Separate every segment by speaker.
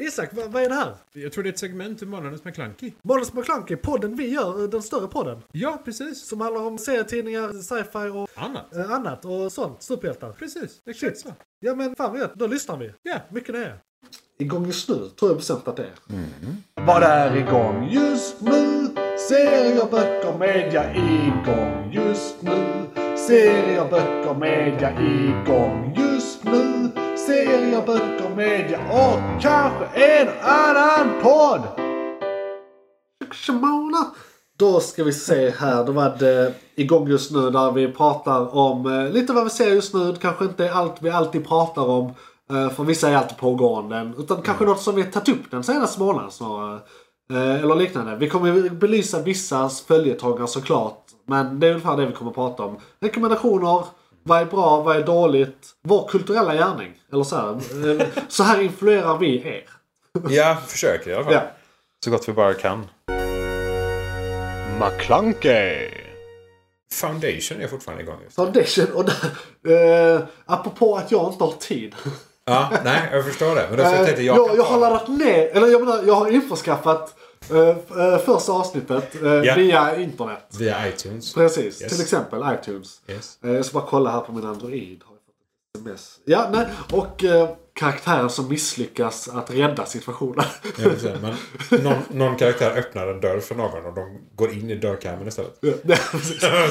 Speaker 1: Isak, vad, vad är det här?
Speaker 2: Jag tror det är ett segment ur Månadens McKlunky.
Speaker 1: Måns McClunky, podden vi gör, eh, den större podden.
Speaker 2: Ja, precis.
Speaker 1: Som handlar om serietidningar, sci-fi och
Speaker 2: Annat.
Speaker 1: eh, annat och sånt. Superhjältar.
Speaker 2: Precis, exakt så.
Speaker 1: Ja men fan vad gött, då lyssnar vi.
Speaker 2: Ja.
Speaker 1: Mycket nöje. Igång just nu, tror jag bestämt att det är.
Speaker 3: Vad är igång just nu? Serier, böcker, media igång just nu. Serier, böcker, media igång just nu. Serier, böcker, media och kanske en annan podd.
Speaker 1: Shimona. Då ska vi se här, då var det igång just nu där vi pratar om eh, lite vad vi ser just nu. Det kanske inte är allt vi alltid pratar om. eh, För vissa är alltid pågående. Utan kanske något som vi tagit upp den senaste månaden snarare. Eh, Eller liknande. Vi kommer ju belysa vissa följetagare såklart. Men det är ungefär det vi kommer prata om. Rekommendationer. Vad är bra? Vad är dåligt? Vår kulturella gärning. Eller så här. eh, Så här influerar vi er.
Speaker 4: Ja, försöker i alla fall.
Speaker 1: Ja.
Speaker 4: Så gott vi bara kan.
Speaker 3: McClunkey.
Speaker 4: Foundation är fortfarande igång just
Speaker 1: Foundation. Och där, eh, apropå att jag inte har tid.
Speaker 4: Ja, nej, jag förstår det. Men då tänkte jag,
Speaker 1: Eh,
Speaker 4: jag,
Speaker 1: jag, jag har laddat ner, eller jag menar jag har införskaffat eh, f- eh, första avsnittet eh,
Speaker 4: Ja.
Speaker 1: via internet.
Speaker 4: Via iTunes.
Speaker 1: Precis,
Speaker 4: Yes.
Speaker 1: till exempel iTunes.
Speaker 4: Yes.
Speaker 1: Eh, jag ska bara kolla här på min Android. Har jag fått ett SMS? Ja, nej. Och eh, karaktären som misslyckas att rädda situationen.
Speaker 4: Ja, precis. Men någon, någon karaktär öppnar en dörr för någon och de går in i dörrkarmen istället.
Speaker 1: Nej,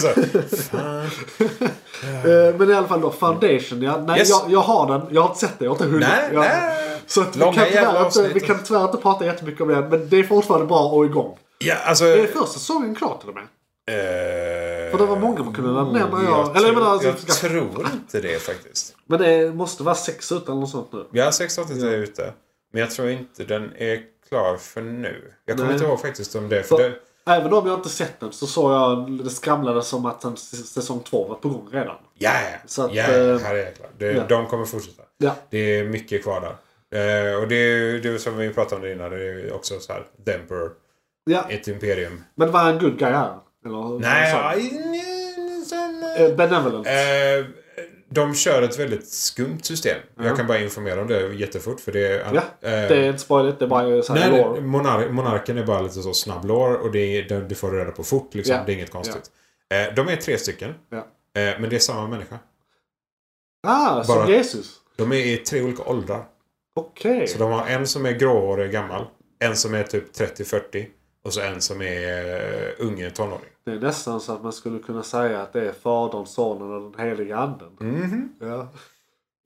Speaker 4: Så, fan.
Speaker 1: eh, Men i alla fall då, Foundation. Ja, nej,
Speaker 4: Yes.
Speaker 1: jag, jag har den. Jag har inte sett den. Jag har inte hunnit.
Speaker 4: Nej,
Speaker 1: jag,
Speaker 4: nej.
Speaker 1: Så att vi, kan
Speaker 4: Långa jävla
Speaker 1: tyvärr inte, vi
Speaker 4: avsnitt.
Speaker 1: kan tyvärr inte prata jättemycket om den. Men det är fortfarande bra och igång.
Speaker 4: Ja, alltså...
Speaker 1: Är första säsongen klar till och med? För
Speaker 4: För
Speaker 1: det var många man kunde nämna. Jag,
Speaker 4: Jag,
Speaker 1: eller jag menar,
Speaker 4: tror,
Speaker 1: alltså,
Speaker 4: jag tror inte det faktiskt.
Speaker 1: Men det måste vara sex utan eller något sånt nu.
Speaker 4: Ja, 16 är ute. Men jag tror inte den är klar för nu. Jag kommer
Speaker 1: Nej.
Speaker 4: inte ihåg faktiskt om det. För
Speaker 1: För,
Speaker 4: det
Speaker 1: Även om jag inte sett den så såg jag det skramlade som att en s- säsong två var på gång redan.
Speaker 4: Ja,
Speaker 1: Så att,
Speaker 4: ja,
Speaker 1: eh,
Speaker 4: här är jag klar. Det,
Speaker 1: ja.
Speaker 4: De kommer fortsätta.
Speaker 1: Ja.
Speaker 4: Det är mycket kvar där. Eh, och det är ju det är som vi pratade om det innan. Det är ju också så här. The Emperor.
Speaker 1: ja.
Speaker 4: Ett imperium.
Speaker 1: Men var han en good guy här? Eller,
Speaker 4: Nej,
Speaker 1: så-
Speaker 4: aj, nej, sen, eh,
Speaker 1: Eh, Benevolent.
Speaker 4: eh, de kör ett väldigt skumt system. Jag kan bara informera om det jättefort. För det är...
Speaker 1: ja.
Speaker 4: eh,
Speaker 1: det är inte spoiligt, det är bara så här
Speaker 4: Nej,
Speaker 1: lore.
Speaker 4: monar monarken är bara lite så snabb lore och det, är, det, det får du reda på fort. Liksom.
Speaker 1: Ja.
Speaker 4: Det är inget konstigt. Eh, de är tre stycken.
Speaker 1: Ja.
Speaker 4: Eh, men det är samma människa.
Speaker 1: Ah, som
Speaker 4: Bara-
Speaker 1: Jesus.
Speaker 4: De är i tre olika åldrar.
Speaker 1: Okej.
Speaker 4: Så de har en som är gråhårig och gammal. En som är typ 30-40. Och så en som är eh, unge tonåring.
Speaker 1: Det är nästan så att man skulle kunna säga att det är Fadern, Sonen och den helige Anden.
Speaker 4: Mhm.
Speaker 1: Ja.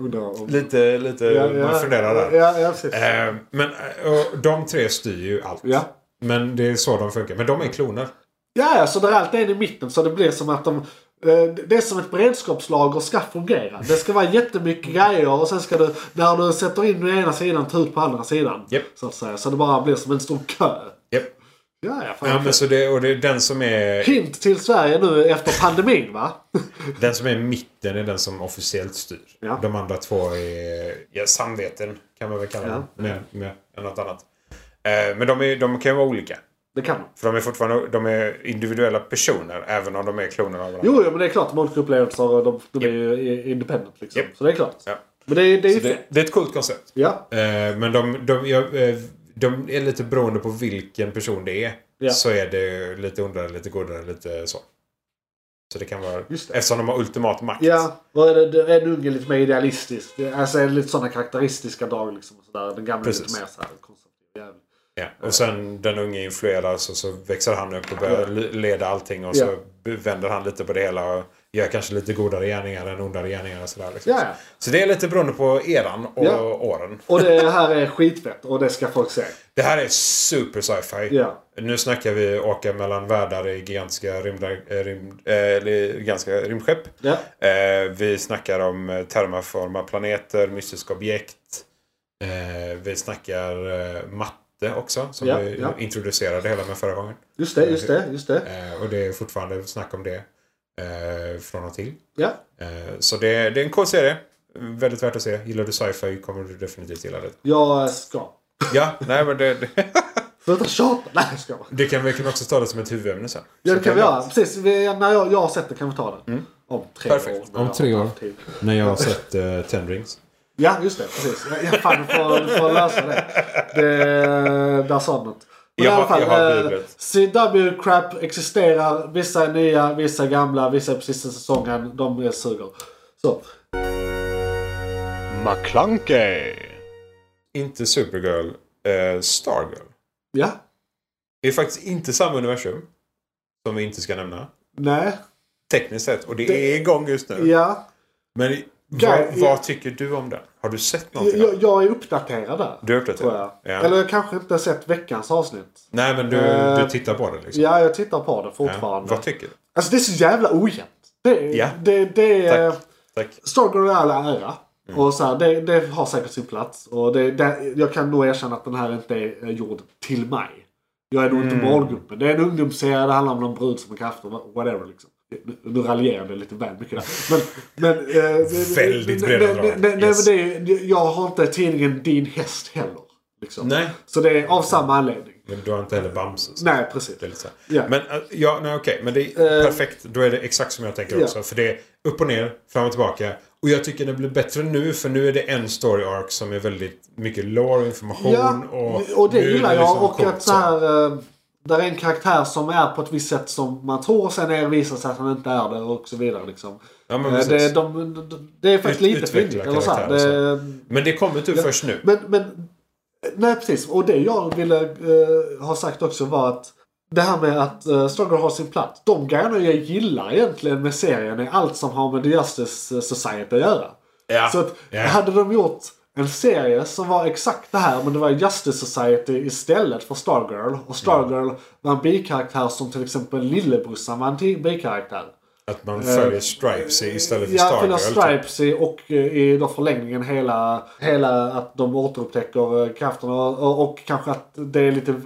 Speaker 1: Undrar om...
Speaker 4: Lite, lite... man funderar där.
Speaker 1: Ja, ja, precis.
Speaker 4: Eh, men eh, och de tre styr ju allt.
Speaker 1: Ja.
Speaker 4: Men det är så de funkar. Men de är kloner.
Speaker 1: Ja, ja, så där är allt en i mitten så det blir som att de... eh, Det är som ett beredskapslager ska fungera. Det ska vara jättemycket grejer och sen ska du, när du sätter in den ena sidan, ta ut på andra sidan.
Speaker 4: Japp.
Speaker 1: Så att säga. Så det bara blir som en stor kö.
Speaker 4: Japp.
Speaker 1: Ja, ja, fan.
Speaker 4: Ja, men så det, och det är den som är
Speaker 1: Hint till Sverige nu efter pandemin va?
Speaker 4: Den som är i mitten är den som officiellt styr.
Speaker 1: Ja.
Speaker 4: De andra två är ja, samveten kan man väl kalla
Speaker 1: Ja.
Speaker 4: dem. Med, med något annat. Eh, men de, är, de kan ju vara olika.
Speaker 1: Det kan man.
Speaker 4: För de är fortfarande de är individuella personer även om de är kloner av varandra.
Speaker 1: Jo, jo, men det är klart. De har olika upplevelser och de, de är ju independent liksom.
Speaker 4: Japp.
Speaker 1: Så det är klart.
Speaker 4: Ja.
Speaker 1: Men det, är- det är ju
Speaker 4: Så det,
Speaker 1: fett.
Speaker 4: det är ett coolt koncept.
Speaker 1: Ja.
Speaker 4: Eh, men de, de, jag, eh, de är lite beroende på vilken person det är.
Speaker 1: Ja.
Speaker 4: Så är det lite ondare, lite godare, lite så. Så det kan vara...
Speaker 1: Just det.
Speaker 4: Eftersom de har ultimat makt.
Speaker 1: Ja, och är det, det är en unge lite mer idealistisk. Det- Alltså är det lite sådana karaktäristiska drag liksom. Och sådär. Den gamla är lite
Speaker 4: Precis.
Speaker 1: mer såhär konservativ. jävel.
Speaker 4: Ja, och sen den unge influeras och så växer han upp och börjar le- leda allting och
Speaker 1: Ja.
Speaker 4: så vänder han lite på det hela och gör kanske lite godare gärningar än ondare gärningar och sådär. Liksom.
Speaker 1: Ja, ja.
Speaker 4: Så det är lite beroende på eran och
Speaker 1: Ja.
Speaker 4: åren.
Speaker 1: Och det här är skitfett och det ska folk se.
Speaker 4: Det här är super sci-fi.
Speaker 1: Ja.
Speaker 4: Nu snackar vi åka mellan världar i gigantiska, rymdar, eh, rymd, eh, eller gigantiska rymdskepp.
Speaker 1: Ja.
Speaker 4: Eh, vi snackar om eh, terraforma planeter, mystiska objekt. Eh, vi snackar eh, matte också som
Speaker 1: Ja,
Speaker 4: vi
Speaker 1: ja.
Speaker 4: introducerade hela med förra gången.
Speaker 1: Just det, just det, just det.
Speaker 4: Eh, och det är fortfarande snack om det. Eh, från och till.
Speaker 1: Ja.
Speaker 4: Eh, så det, det är en cool serie. Väldigt värt att se. Gillar du sci-fi kommer du definitivt gilla det.
Speaker 1: Jag ska.
Speaker 4: Ja, nej men det, det,
Speaker 1: Sluta tjata! Nej, jag ska bara.
Speaker 4: det kan vi kan också ta det som ett huvudämne sen.
Speaker 1: Ja, det
Speaker 4: Så
Speaker 1: kan vi
Speaker 4: är Mm.
Speaker 1: göra. Precis, vi, när jag, jag har sett det kan vi ta det. Om tre
Speaker 4: Perfekt.
Speaker 1: år. Typ. när
Speaker 4: Om
Speaker 1: jag
Speaker 4: tre
Speaker 1: har
Speaker 4: år.
Speaker 1: haft tid.
Speaker 4: lugnt. När jag har sett eh, Ten Rings.
Speaker 1: Ja, just det. Precis. Jag, jag fan, du får, du får lösa det. det där sa något. Men
Speaker 4: Jag
Speaker 1: i alla
Speaker 4: har-
Speaker 1: fall,
Speaker 4: jag har
Speaker 1: eh,
Speaker 4: googlat.
Speaker 1: CW crap existerar. Vissa är nya, vissa är gamla, vissa är på sista säsongen. De är suger. Så.
Speaker 3: McClunkey.
Speaker 4: Inte Supergirl, eh, Stargirl.
Speaker 1: Ja.
Speaker 4: Det är faktiskt inte samma universum. Som vi inte ska nämna.
Speaker 1: Nej.
Speaker 4: Tekniskt sett. Och det,
Speaker 1: Det-
Speaker 4: är igång just nu.
Speaker 1: Ja.
Speaker 4: Men
Speaker 1: Ja,
Speaker 4: vad,
Speaker 1: ja.
Speaker 4: vad tycker du om den? Har du sett någonting? av
Speaker 1: Jag,
Speaker 4: den?
Speaker 1: jag är uppdaterad där.
Speaker 4: Du har uppdaterat?
Speaker 1: Tror jag.
Speaker 4: Ja.
Speaker 1: Eller jag kanske inte har sett veckans avsnitt.
Speaker 4: Nej, men du,
Speaker 1: Eh,
Speaker 4: du tittar på den liksom?
Speaker 1: Ja, jag tittar på det
Speaker 4: Ja.
Speaker 1: fortfarande.
Speaker 4: Vad tycker du?
Speaker 1: Alltså det är så jävla ojämnt. Det,
Speaker 4: Ja.
Speaker 1: det, det är...
Speaker 4: Tack. Tack.
Speaker 1: Stargirl i all ära.
Speaker 4: Mm.
Speaker 1: Och så här, det, det har säkert sin plats. Och det, det, jag kan nog erkänna att den här inte är eh, gjord till mig. Jag är nog
Speaker 4: Mm.
Speaker 1: inte målgruppen. Det är en ungdomsserie, det handlar om någon brud som har krafter, wha- whatever liksom. Nu- Nu raljerade jag lite väl mycket där. Men, men, eh,
Speaker 4: Väldigt breda
Speaker 1: nej,
Speaker 4: drag.
Speaker 1: nej, nej, nej, men
Speaker 4: Yes.
Speaker 1: det är, ju- Jag har inte tidningen Din Häst heller. Liksom.
Speaker 4: Nej.
Speaker 1: Så det är av samma anledning.
Speaker 4: Men du har inte heller Bamse? så
Speaker 1: Nej, precis.
Speaker 4: Det är lite så här.
Speaker 1: Ja.
Speaker 4: Men eh, ja, nej, okej. Men det är
Speaker 1: Eh.
Speaker 4: perfekt. Då är det exakt som jag tänker
Speaker 1: Ja.
Speaker 4: också. För det är upp och ner, fram och tillbaka. Och jag tycker det blir bättre nu. För nu är det en story arc som är väldigt mycket lore och information.
Speaker 1: Ja,
Speaker 4: och,
Speaker 1: och, det
Speaker 4: nu är
Speaker 1: gillar jag.
Speaker 4: liksom
Speaker 1: och
Speaker 4: coolt
Speaker 1: att så här, eh, där är en karaktär som är på ett visst sätt som man tror och sen är det visar sig att han inte är det och så vidare. Liksom.
Speaker 4: Ja, men
Speaker 1: Eh,
Speaker 4: precis.
Speaker 1: det, de, de, det är faktiskt
Speaker 4: Ut-
Speaker 1: lite
Speaker 4: utveckla
Speaker 1: fyndigt. eller så här.
Speaker 4: karaktär och
Speaker 1: Det-
Speaker 4: Men det kommer typ först nu.
Speaker 1: men, men, nej precis. Och det jag ville eh, ha sagt också var att det här med att eh, Stargirl har sin plats. De grejerna jag gillar egentligen med serien är allt som har med The Justice eh, Society att göra.
Speaker 4: Ja.
Speaker 1: Så att,
Speaker 4: Ja.
Speaker 1: hade de gjort en serie som var exakt det här men det var Justice Society istället för Stargirl. Och
Speaker 4: Mm.
Speaker 1: Stargirl var en bikaraktär som till exempel Lillebrorsan var en ti- bikaraktär.
Speaker 4: Att man följer Stripes istället för
Speaker 1: Eh, Ja,
Speaker 4: Stargirl.
Speaker 1: Fina
Speaker 4: typ.
Speaker 1: Stripes i, och eh, i då förlängningen hela, hela att de återupptäcker eh, krafterna och, och, och kanske att det är lite...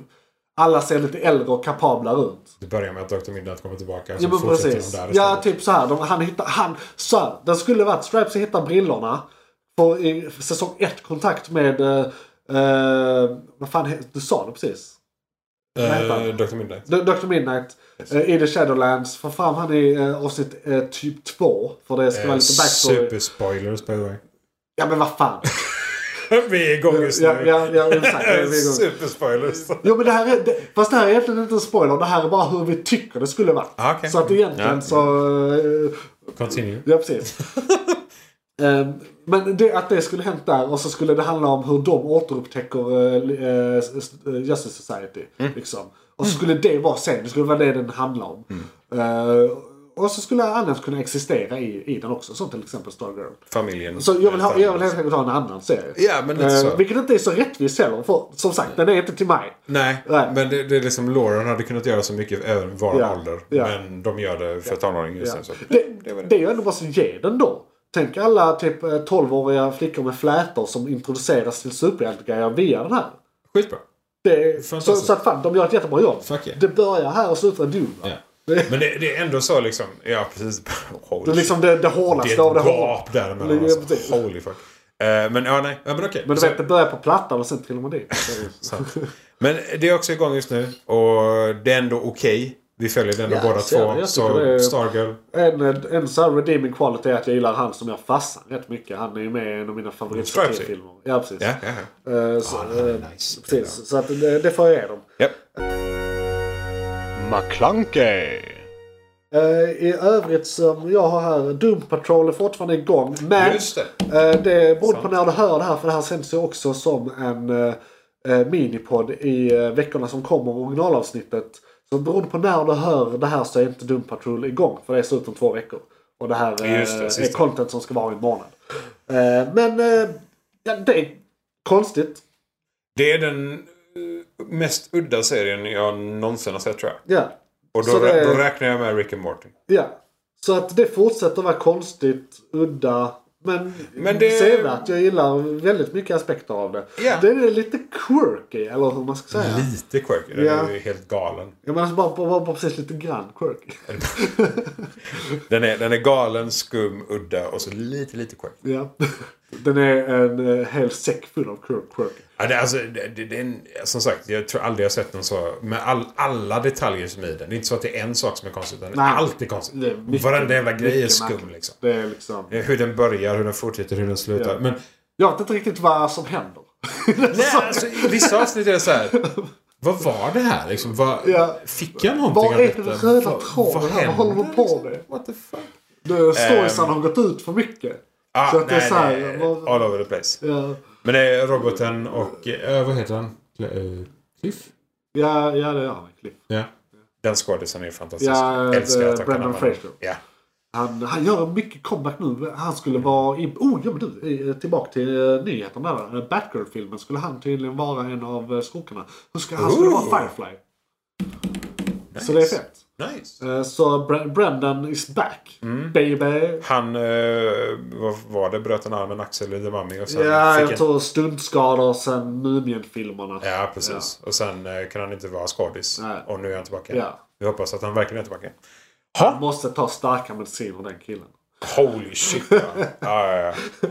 Speaker 1: Alla ser lite äldre och kapabla ut.
Speaker 4: Det börjar med att Dr. Midnight kommer tillbaka.
Speaker 1: Ja
Speaker 4: så
Speaker 1: men
Speaker 4: fortsätter de
Speaker 1: precis.
Speaker 4: där
Speaker 1: Ja
Speaker 4: istället.
Speaker 1: typ så här. De, han hittar, han, så här, det skulle varit Stripes hittar brillorna. Får i säsong ett kontakt med, eh, eh, vad fan he- du sa det precis.
Speaker 4: Eh, Dr. Midnight.
Speaker 1: D- Dr Midnight eh, i The Shadowlands. Får fram han i eh, avsnitt eh, typ två. För det ska vara
Speaker 4: Eh,
Speaker 1: lite backstory.
Speaker 4: Superspoilers by the way.
Speaker 1: Ja men vad fan.
Speaker 4: Vi är igång just nu.
Speaker 1: ja, ja, ja, exakt. Vi är igång. Mm.
Speaker 4: Superspoilers.
Speaker 1: Jo men det här är, det, fast det här är egentligen inte en spoiler. Det här är bara hur vi tycker det skulle vara.
Speaker 4: Ah, okej.
Speaker 1: Så att egentligen
Speaker 4: Ja.
Speaker 1: så... eh,
Speaker 4: Continue.
Speaker 1: Ja, precis. Ehm, Men det, att det skulle hänt där och så skulle det handla om hur de återupptäcker eh, li- eh, s- s- eh, Justice Society.
Speaker 4: Mm.
Speaker 1: Liksom. Och så skulle det vara sen, det skulle vara det den handlar om.
Speaker 4: Mm.
Speaker 1: Eh, och så skulle annat kunna existera i, i den också, som till exempel Stargirl.
Speaker 4: Familjen.
Speaker 1: Så jag vill, ha, jag vill helt enkelt ha en annan serie.
Speaker 4: alltså. Ja, men lite så.
Speaker 1: Eh, vilket inte är så rättvist heller, för som sagt, den är inte till mig.
Speaker 4: Nej,
Speaker 1: Nej.
Speaker 4: men det, det är liksom Lauren hade kunnat göra så mycket även var
Speaker 1: Ja,
Speaker 4: ålder.
Speaker 1: ja.
Speaker 4: Men de gör det för tonåringar just nu. Så.
Speaker 1: Det,
Speaker 4: det var det.
Speaker 1: det är ju ändå bara så ge den då. Tänk alla typ eh, 12-åriga flickor med flätor som introduceras till superhjältegrejer via den här.
Speaker 4: Skitbra.
Speaker 1: Det, så,
Speaker 4: Fantastiskt.
Speaker 1: så att fan, de gör ett jättebra jobb.
Speaker 4: alltså- Fuck yeah.
Speaker 1: Det börjar här och slutar i Doom. va?
Speaker 4: Ja. Men det, det är ändå så liksom. Ja, precis. Holy
Speaker 1: Det är liksom det, det hårdaste
Speaker 4: shit. det är
Speaker 1: av det
Speaker 4: ett
Speaker 1: hårda.
Speaker 4: gap där
Speaker 1: Ja,
Speaker 4: mellan oss.
Speaker 1: precis.
Speaker 4: Holy fuck. Eh, men ja, nej. Ja, men okej.
Speaker 1: Men du
Speaker 4: Så-
Speaker 1: vet, det börjar på plattan och sen trillar man dit.
Speaker 4: Men det är också igång just nu och det är ändå okej. Vi följer den ändå
Speaker 1: Ja,
Speaker 4: båda
Speaker 1: så jag
Speaker 4: två.
Speaker 1: tycker
Speaker 4: Så
Speaker 1: det är-
Speaker 4: Stargirl.
Speaker 1: en en så här redeeming quality är att jag gillar han som jag fastnar rätt mycket. Han är ju med i en av mina
Speaker 4: Stripes, ja.
Speaker 1: favoritfilmer. Ja, precis.
Speaker 4: Ja, ja,
Speaker 1: Eh, så,
Speaker 4: Ah, nej,
Speaker 1: eh,
Speaker 4: nice.
Speaker 1: precis. så att, det, det får jag ge dem.
Speaker 4: ja.
Speaker 3: McClunkey.
Speaker 1: Eh, I övrigt som jag har här, Doom Patrol är fortfarande igång. Men
Speaker 4: Just det.
Speaker 1: Eh, Det beror på när du hör det här för det här sänds ju också som en eh, eh, minipodd i eh, veckorna som kommer, originalavsnittet. Så beroende på när du hör det här så är inte Doom Patrol igång för det är slut om två veckor. Och det här eh,
Speaker 4: Just det,
Speaker 1: är
Speaker 4: sista.
Speaker 1: content som ska vara i en månad. Eh, Men eh, ja, det är konstigt.
Speaker 4: Det är den eh, mest udda serien jag någonsin har sett tror jag.
Speaker 1: Ja.
Speaker 4: Och
Speaker 1: Så
Speaker 4: då,
Speaker 1: det-
Speaker 4: då räknar jag med Rick and Morty.
Speaker 1: ja. Så att det fortsätter vara konstigt, udda. Men,
Speaker 4: Men det-
Speaker 1: sevärt. Jag gillar väldigt mycket aspekter av det.
Speaker 4: Ja.
Speaker 1: Det är lite quirky, eller hur man ska säga.
Speaker 4: Lite quirky. Den
Speaker 1: Ja.
Speaker 4: är ju helt galen.
Speaker 1: Jag menar alltså bara, bara, bara precis lite grann quirky.
Speaker 4: Den är, den är galen, skum, udda och så lite, lite quirky.
Speaker 1: ja. Den är en eh, hel säck full av quirk. quirk.
Speaker 4: Ja, det, alltså, det, det, det är en, som sagt, jag tror aldrig jag sett någon så. Med all, alla detaljer som är i den. Det är inte så att det är en sak som är konstig. Utan
Speaker 1: Nej.
Speaker 4: allt är konstigt.
Speaker 1: Det är mycket-
Speaker 4: Varenda jävla grej är
Speaker 1: mycket
Speaker 4: skum
Speaker 1: märkligt.
Speaker 4: liksom.
Speaker 1: Det är liksom...
Speaker 4: Eh, Hur den börjar, hur den fortsätter, hur den slutar.
Speaker 1: Ja.
Speaker 4: Men
Speaker 1: Jag vet inte riktigt vad som händer.
Speaker 4: Nej, alltså, i vissa avsnitt är det så här. Vad var det här liksom? Vad,
Speaker 1: Ja.
Speaker 4: Fick jag någonting
Speaker 1: Var
Speaker 4: av
Speaker 1: är
Speaker 4: detta?
Speaker 1: den röda
Speaker 4: Vad- liksom?
Speaker 1: tråden här? Vad håller de på med?
Speaker 4: What the fuck? Ehm.
Speaker 1: Det- Storiesen har gått ut för mycket.
Speaker 4: Ah,
Speaker 1: Så att det
Speaker 4: nej,
Speaker 1: är så här,
Speaker 4: nej.
Speaker 1: vad-
Speaker 4: All over the place.
Speaker 1: Ja,
Speaker 4: Men det är roboten och... eh, vad heter han? Cl- eh, Cliff?
Speaker 1: ja, ja det gör han. Cliff.
Speaker 4: Ja. Den skådisen är ju fantastisk.
Speaker 1: Ja,
Speaker 4: Alltså, Älskar
Speaker 1: det-
Speaker 4: att han
Speaker 1: Brendan
Speaker 4: kan använda-
Speaker 1: Fraser.
Speaker 4: Ja.
Speaker 1: Han, han gör mycket comeback nu. Han skulle vara... I, oh, ja, men du, eh, tillbaka till eh, nyheterna där. Eh, Batgirl-filmen skulle han tydligen vara en av eh, skurkarna. Han skulle, han skulle
Speaker 4: Ooh.
Speaker 1: vara Firefly.
Speaker 4: Nice.
Speaker 1: Så det är fett.
Speaker 4: Nice.
Speaker 1: Eh, Så Bra- Brendan is back,
Speaker 4: Mm.
Speaker 1: baby.
Speaker 4: Han... eh, vad var det? Bröt en arm, en axel eller mami och sen
Speaker 1: Ja,
Speaker 4: fick
Speaker 1: jag
Speaker 4: en...
Speaker 1: tror stuntskador sen Mumien-filmerna.
Speaker 4: Ja, precis. Och sen eh, kan han inte vara skådis.
Speaker 1: Nej.
Speaker 4: Och nu är han tillbaka.
Speaker 1: Ja.
Speaker 4: Vi hoppas att han verkligen är tillbaka.
Speaker 1: Måste ta starka mediciner den killen.
Speaker 4: Holy shit ja. ja, ja, ja.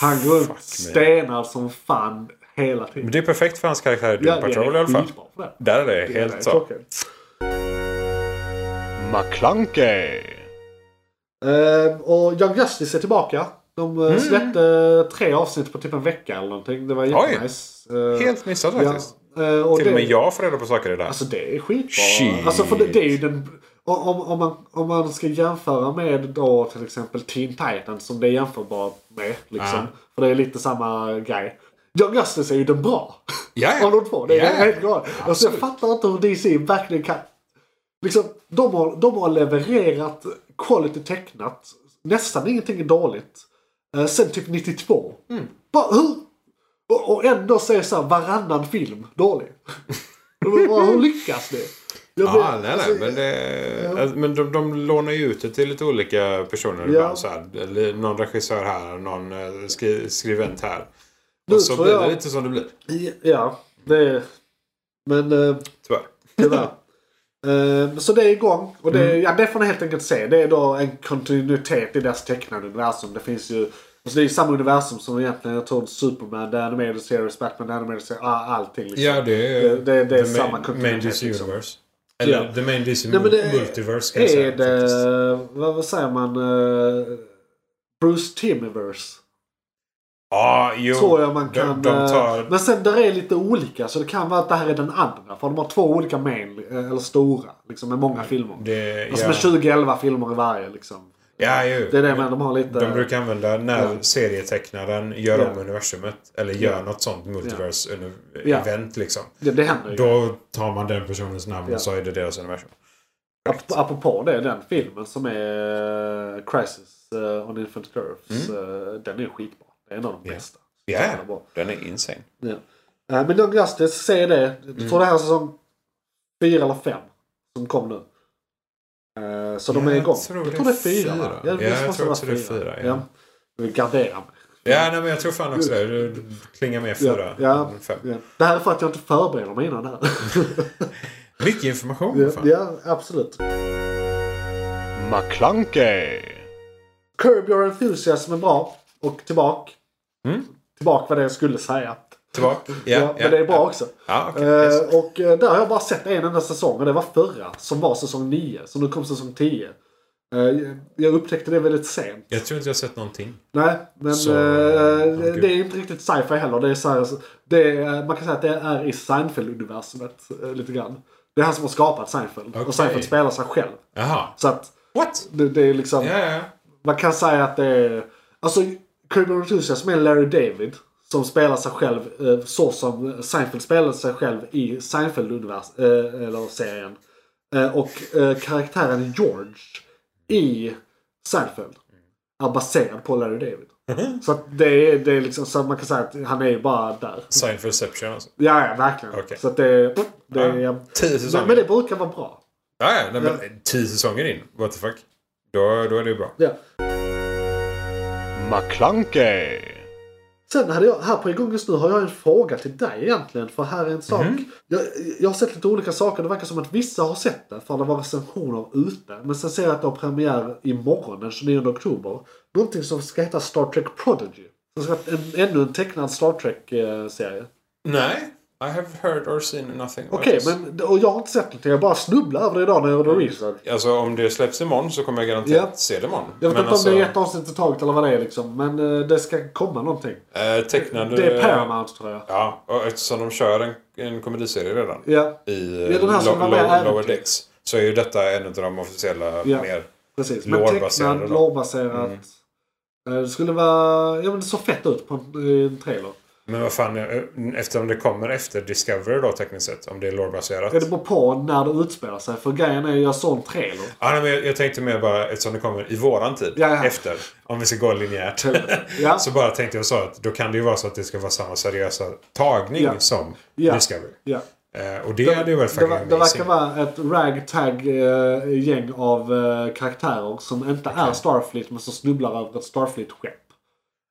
Speaker 1: Han går runt
Speaker 4: me.
Speaker 1: stenar som fan hela tiden.
Speaker 4: Men det är perfekt för hans karaktär i Doom
Speaker 1: Ja, det är
Speaker 4: Patrol i alla fall.
Speaker 1: skitbra för det.
Speaker 4: Där är det
Speaker 1: Det är
Speaker 4: helt så.
Speaker 1: klockrent.
Speaker 3: McClunkey.
Speaker 1: Eh, och Young Justice är tillbaka. De eh,
Speaker 4: Mm.
Speaker 1: släppte tre avsnitt på typ en vecka eller någonting. Det var jättenice. Eh,
Speaker 4: Helt missat
Speaker 1: ja.
Speaker 4: faktiskt.
Speaker 1: Eh, och
Speaker 4: Till och
Speaker 1: det-
Speaker 4: med jag får reda på saker i det där.
Speaker 1: Alltså det är skitbra.
Speaker 4: Shit.
Speaker 1: Alltså för det, det är ju den... Om, om- om, man, om man ska jämföra med då till exempel Teen Titans som det är jämförbart med. Liksom.
Speaker 4: Ja.
Speaker 1: För det är lite samma grej. Young Justice är ju den bra.
Speaker 4: Ja, ja.
Speaker 1: Av de två. Det är
Speaker 4: Ja, ja.
Speaker 1: helt galet. Alltså jag
Speaker 4: Absolut.
Speaker 1: fattar inte hur DC verkligen kan... Liksom, de, har, de har levererat quality tecknat. Nästan ingenting är dåligt. Eh, sen typ 92.
Speaker 4: Mm.
Speaker 1: Bara, hur? Och, och ändå så är så här, varannan film dålig. Det var bara, hur lyckas det? Jag
Speaker 4: Ja,
Speaker 1: vet-
Speaker 4: nej,
Speaker 1: alltså,
Speaker 4: nej, men det, alltså, men de, de lånar ju ut det till lite olika personer
Speaker 1: Ja.
Speaker 4: ibland. Så här, eller någon regissör här, någon eh, skri, skrivent här.
Speaker 1: Nu
Speaker 4: Och så
Speaker 1: tror
Speaker 4: blir det
Speaker 1: jag-
Speaker 4: lite som det blir.
Speaker 1: Ja, det är... Men eh,
Speaker 4: Tyvärr.
Speaker 1: tyvärr. Eh, så det är igång. Och det,
Speaker 4: Mm.
Speaker 1: ja, det får ni helt enkelt se. Det är då en kontinuitet i deras tecknade universum. Det finns ju... Alltså det är ju samma universum som egentligen jag tror Superman, The Animated Series, Batman, The Animated Series, all- allting liksom.
Speaker 4: Ja, det är,
Speaker 1: Det- det- det är
Speaker 4: the
Speaker 1: samma
Speaker 4: main, main
Speaker 1: kontinuitet,
Speaker 4: DC
Speaker 1: liksom.
Speaker 4: Universe. Eller
Speaker 1: Ja.
Speaker 4: The Main DC
Speaker 1: Nej, men det
Speaker 4: Multiverse kan jag säga.
Speaker 1: är
Speaker 4: faktiskt.
Speaker 1: det... Vad, vad säger man? eh, Bruce Timmiverse.
Speaker 4: Ja, jo.
Speaker 1: tror jag man kan.
Speaker 4: De, de tar...
Speaker 1: eh, Men sen där är lite olika så det kan vara att det här är den andra. För de har två olika main, eh, eller stora. Liksom med många filmer.
Speaker 4: det,
Speaker 1: alltså
Speaker 4: ja.
Speaker 1: med 20-11 filmer i varje liksom.
Speaker 4: Ja, ju.
Speaker 1: Det är det men de har lite...
Speaker 4: De brukar använda när
Speaker 1: Ja.
Speaker 4: serietecknaren gör
Speaker 1: Ja.
Speaker 4: om universumet. Eller gör
Speaker 1: Ja.
Speaker 4: något sånt
Speaker 1: Ja.
Speaker 4: multiverse-event liksom.
Speaker 1: det, det händer ju.
Speaker 4: Då tar man den personens namn
Speaker 1: Ja.
Speaker 4: och så är det deras universum.
Speaker 1: Ap- Apropå det, den filmen som är eh, Crisis eh, on Infant Curves. eh, Den är skitbra. Det är en av de
Speaker 4: Mm. Ja.
Speaker 1: bästa.
Speaker 4: Ja,
Speaker 1: Den är bra.
Speaker 4: den är insane.
Speaker 1: Ja. Eh, Men Young Justice, se det.
Speaker 4: Mm.
Speaker 1: Jag tror det här är säsong fyra eller fem som kom nu. Eh, Så de
Speaker 4: Ja,
Speaker 1: är
Speaker 4: jag
Speaker 1: igång.
Speaker 4: tror
Speaker 1: jag
Speaker 4: det
Speaker 1: tror det är
Speaker 4: är
Speaker 1: fyra.
Speaker 4: fyra.
Speaker 1: va?
Speaker 4: Ja,
Speaker 1: måste
Speaker 4: jag tror
Speaker 1: vara
Speaker 4: också det är fyra, ja.
Speaker 1: Ja. Jag vill gardera mig.
Speaker 4: Ja, nej, men jag tror fan också det. Det klingar mer fyra
Speaker 1: ja,
Speaker 4: än fem.
Speaker 1: ja. Det här är för att jag inte förbereder mig innan det här.
Speaker 4: Mycket information
Speaker 1: ja,
Speaker 4: fan.
Speaker 1: ja, absolut.
Speaker 3: McClunkey.
Speaker 1: Curb Your Enthusiasm är bra. Och tillbak.
Speaker 4: Mm.
Speaker 1: Tillbak var det jag skulle säga.
Speaker 4: Tillbaka.
Speaker 1: Ja,
Speaker 4: Ja, ja,
Speaker 1: men det är bra också.
Speaker 4: Ja, okej.
Speaker 1: Eh,
Speaker 4: Yes.
Speaker 1: och eh, där har jag bara sett en enda säsong och det var förra som var säsong 9. Så nu kom säsong 10. Eh, jag upptäckte det väldigt sent.
Speaker 4: Jag tror inte jag har sett någonting.
Speaker 1: Nej, men
Speaker 4: Så,
Speaker 1: eh, det,
Speaker 4: okej.
Speaker 1: det är inte riktigt sci-fi heller. Det är så här, alltså, det är, eh, man kan säga att det är i Seinfeld-universumet eh, lite grann. Det är han som har skapat Seinfeld.
Speaker 4: Okej.
Speaker 1: Och Seinfeld spelar sig själv.
Speaker 4: Jaha.
Speaker 1: Så att
Speaker 4: What?
Speaker 1: det, det är liksom...
Speaker 4: Ja, ja.
Speaker 1: Man kan säga att det är... Alltså, Kirby Enthusiasm är Larry David. Som spelar sig själv eh, så som Seinfeld spelade sig själv i Seinfeld univers eh, eller serien. Eh, och eh, karaktären George i Seinfeld är baserad på Larry David. Så att det är, det är liksom så att man kan säga att han är ju bara där.
Speaker 4: Seinfeldception alltså.
Speaker 1: Ja, ja verkligen.
Speaker 4: Okej.
Speaker 1: Så att det, det är...
Speaker 4: Ja. Tio säsonger.
Speaker 1: Men, men det brukar vara bra.
Speaker 4: Ja, ja, nej, men tio säsonger in. What the fuck. Då, då är det ju bra.
Speaker 1: Ja.
Speaker 3: McClunkey.
Speaker 1: Sen hade jag, här på igång just nu har jag en fråga till dig egentligen. För här är en sak. Jag, jag har sett lite olika saker. Det verkar som att vissa har sett det. För det var recensioner ute. Men sen ser jag att det har premiär imorgon den 29 oktober. Någonting som ska heta Star Trek Prodigy. Som ska vara en, ännu en tecknad Star Trek-serie.
Speaker 4: Nej. I have heard or seen nothing. about
Speaker 1: Okej,
Speaker 4: this.
Speaker 1: men och jag har inte sett någonting. Jag bara snubblade över det idag när jag gjorde research.
Speaker 4: Alltså om det släpps imorgon så kommer jag garanterat
Speaker 1: Ja.
Speaker 4: se det imorgon.
Speaker 1: Jag vet
Speaker 4: men alltså-
Speaker 1: inte om det är ett avsnitt i taget eller vad det är liksom. Men eh, det ska komma någonting.
Speaker 4: eh, tecknade...
Speaker 1: Det är Paramount tror jag.
Speaker 4: Ja, och eftersom de kör en, en komediserie redan.
Speaker 1: Ja,
Speaker 4: I eh,
Speaker 1: Ja, den här som
Speaker 4: lo-
Speaker 1: var med
Speaker 4: lo-
Speaker 1: även.
Speaker 4: Lower Decks. Så är ju detta en av de officiella
Speaker 1: Ja.
Speaker 4: mer...
Speaker 1: precis. Men
Speaker 4: Lore-baserad
Speaker 1: tecknad,
Speaker 4: då.
Speaker 1: lårbaserat.
Speaker 4: Mm.
Speaker 1: Det skulle vara... Ja men det såg fett ut på en, i en trailer.
Speaker 4: Men vad fan, eh, eftersom det kommer efter Discovery då tekniskt sett. Om det är lore-baserat.
Speaker 1: Ja, Det beror på när det utspelar sig. För grejen är ju, jag såg en trailer.
Speaker 4: Ja, nej, men jag, jag tänkte mer bara eftersom det kommer i våran tid.
Speaker 1: Ja, ja.
Speaker 4: Efter. Om vi ska gå linjärt.
Speaker 1: Ja,
Speaker 4: Så bara tänkte jag så att då kan det ju vara så att det ska vara samma seriösa tagning
Speaker 1: Ja.
Speaker 4: som
Speaker 1: Ja.
Speaker 4: Discovery.
Speaker 1: ja.
Speaker 4: Eh, och det, hade ju varit
Speaker 1: det,
Speaker 4: fucking
Speaker 1: var-
Speaker 4: amazing.
Speaker 1: det verkar vara ett ragtag eh, gäng av eh, karaktärer som inte är Starfleet men som snubblar över ett Starfleet-skepp.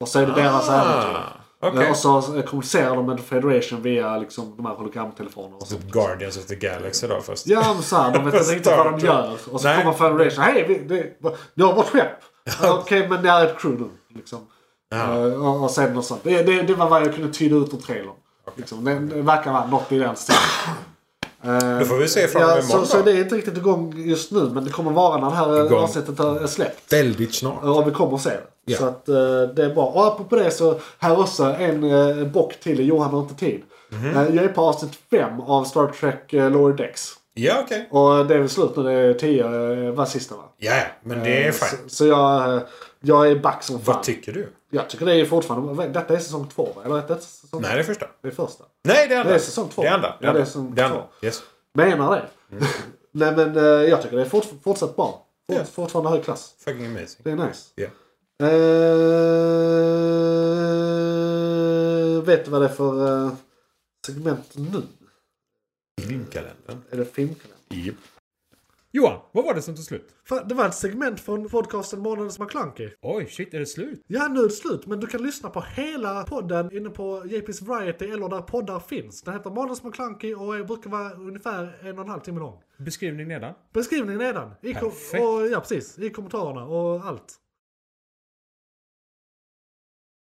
Speaker 1: Och så är det deras äventyr.
Speaker 4: Ah, okej.
Speaker 1: Eh, Och så eh, kommunicerar de med Federation via liksom, de här hologramtelefonerna och så.
Speaker 4: Typ Guardians of the Galaxy då först.
Speaker 1: Ja men såhär, de vet inte riktigt vad de gör. Och så
Speaker 4: Nej.
Speaker 1: kommer Federation. Hej, vi, det, ni har vårt skepp! Alltså, Okej, men det är ett crew nu. Liksom.
Speaker 4: Ja.
Speaker 1: Eh, och, och sen något sånt. Det, det, det var vad jag kunde tyda ut ur trailern. Liksom. Det, det verkar vara något i den stilen. Eh,
Speaker 4: Då får vi se fram
Speaker 1: Ja,
Speaker 4: emot
Speaker 1: så,
Speaker 4: imorgon
Speaker 1: så
Speaker 4: då.
Speaker 1: det är inte riktigt igång just nu men det kommer vara när det här
Speaker 4: Igång.
Speaker 1: avsnittet är släppt. Eh,
Speaker 4: Väldigt snart.
Speaker 1: Och vi kommer att se det.
Speaker 4: Ja.
Speaker 1: Så att eh, det är bra. Och apropå det så här också en eh, bock till. Johan har inte tid.
Speaker 4: Mhm.
Speaker 1: Eh, jag är på avsnitt 5 av Star Trek eh, Lower Decks.
Speaker 4: Ja, okej.
Speaker 1: Och det är väl slut nu. Det är 10 eh, var sista va?
Speaker 4: Ja, ja, men det är
Speaker 1: Eh,
Speaker 4: fint.
Speaker 1: Så, så jag, eh, jag är back som fan.
Speaker 4: Vad tycker du?
Speaker 1: jag tycker det är fortfarande... Detta är säsong 2 va? Eller detta är säsong...
Speaker 4: Nej, det är första.
Speaker 1: Det är första.
Speaker 4: Nej, det är andra.
Speaker 1: Det är säsong två.
Speaker 4: Det är andra.
Speaker 1: Ja, det är säsong
Speaker 4: det är andra.
Speaker 1: två.
Speaker 4: Yes.
Speaker 1: Menar det. Nej men eh, jag tycker det är fort, fortsatt bra. Fort,
Speaker 4: Ja.
Speaker 1: Fortfarande hög klass.
Speaker 4: Fucking amazing.
Speaker 1: Det är nice.
Speaker 4: Ja.
Speaker 1: Eh, vet du vad det är för eh, segment nu?
Speaker 4: Filmkalendern.
Speaker 1: Är det filmkalendern?
Speaker 4: Japp.
Speaker 2: Johan, vad var det som tog slut?
Speaker 1: Fan, Det var ett segment från podcasten Månadens McKlunky.
Speaker 2: Oj, shit, är det slut?
Speaker 1: Ja, nu är det slut. Men du kan lyssna på hela podden inne på JP's Variety eller där poddar finns. Den heter Månadens McKlunky och brukar vara ungefär en och en halv timme lång.
Speaker 2: Beskrivning nedan.
Speaker 1: Beskrivning nedan. I kom-
Speaker 2: Perfekt.
Speaker 1: och, ja, precis. I kommentarerna och allt.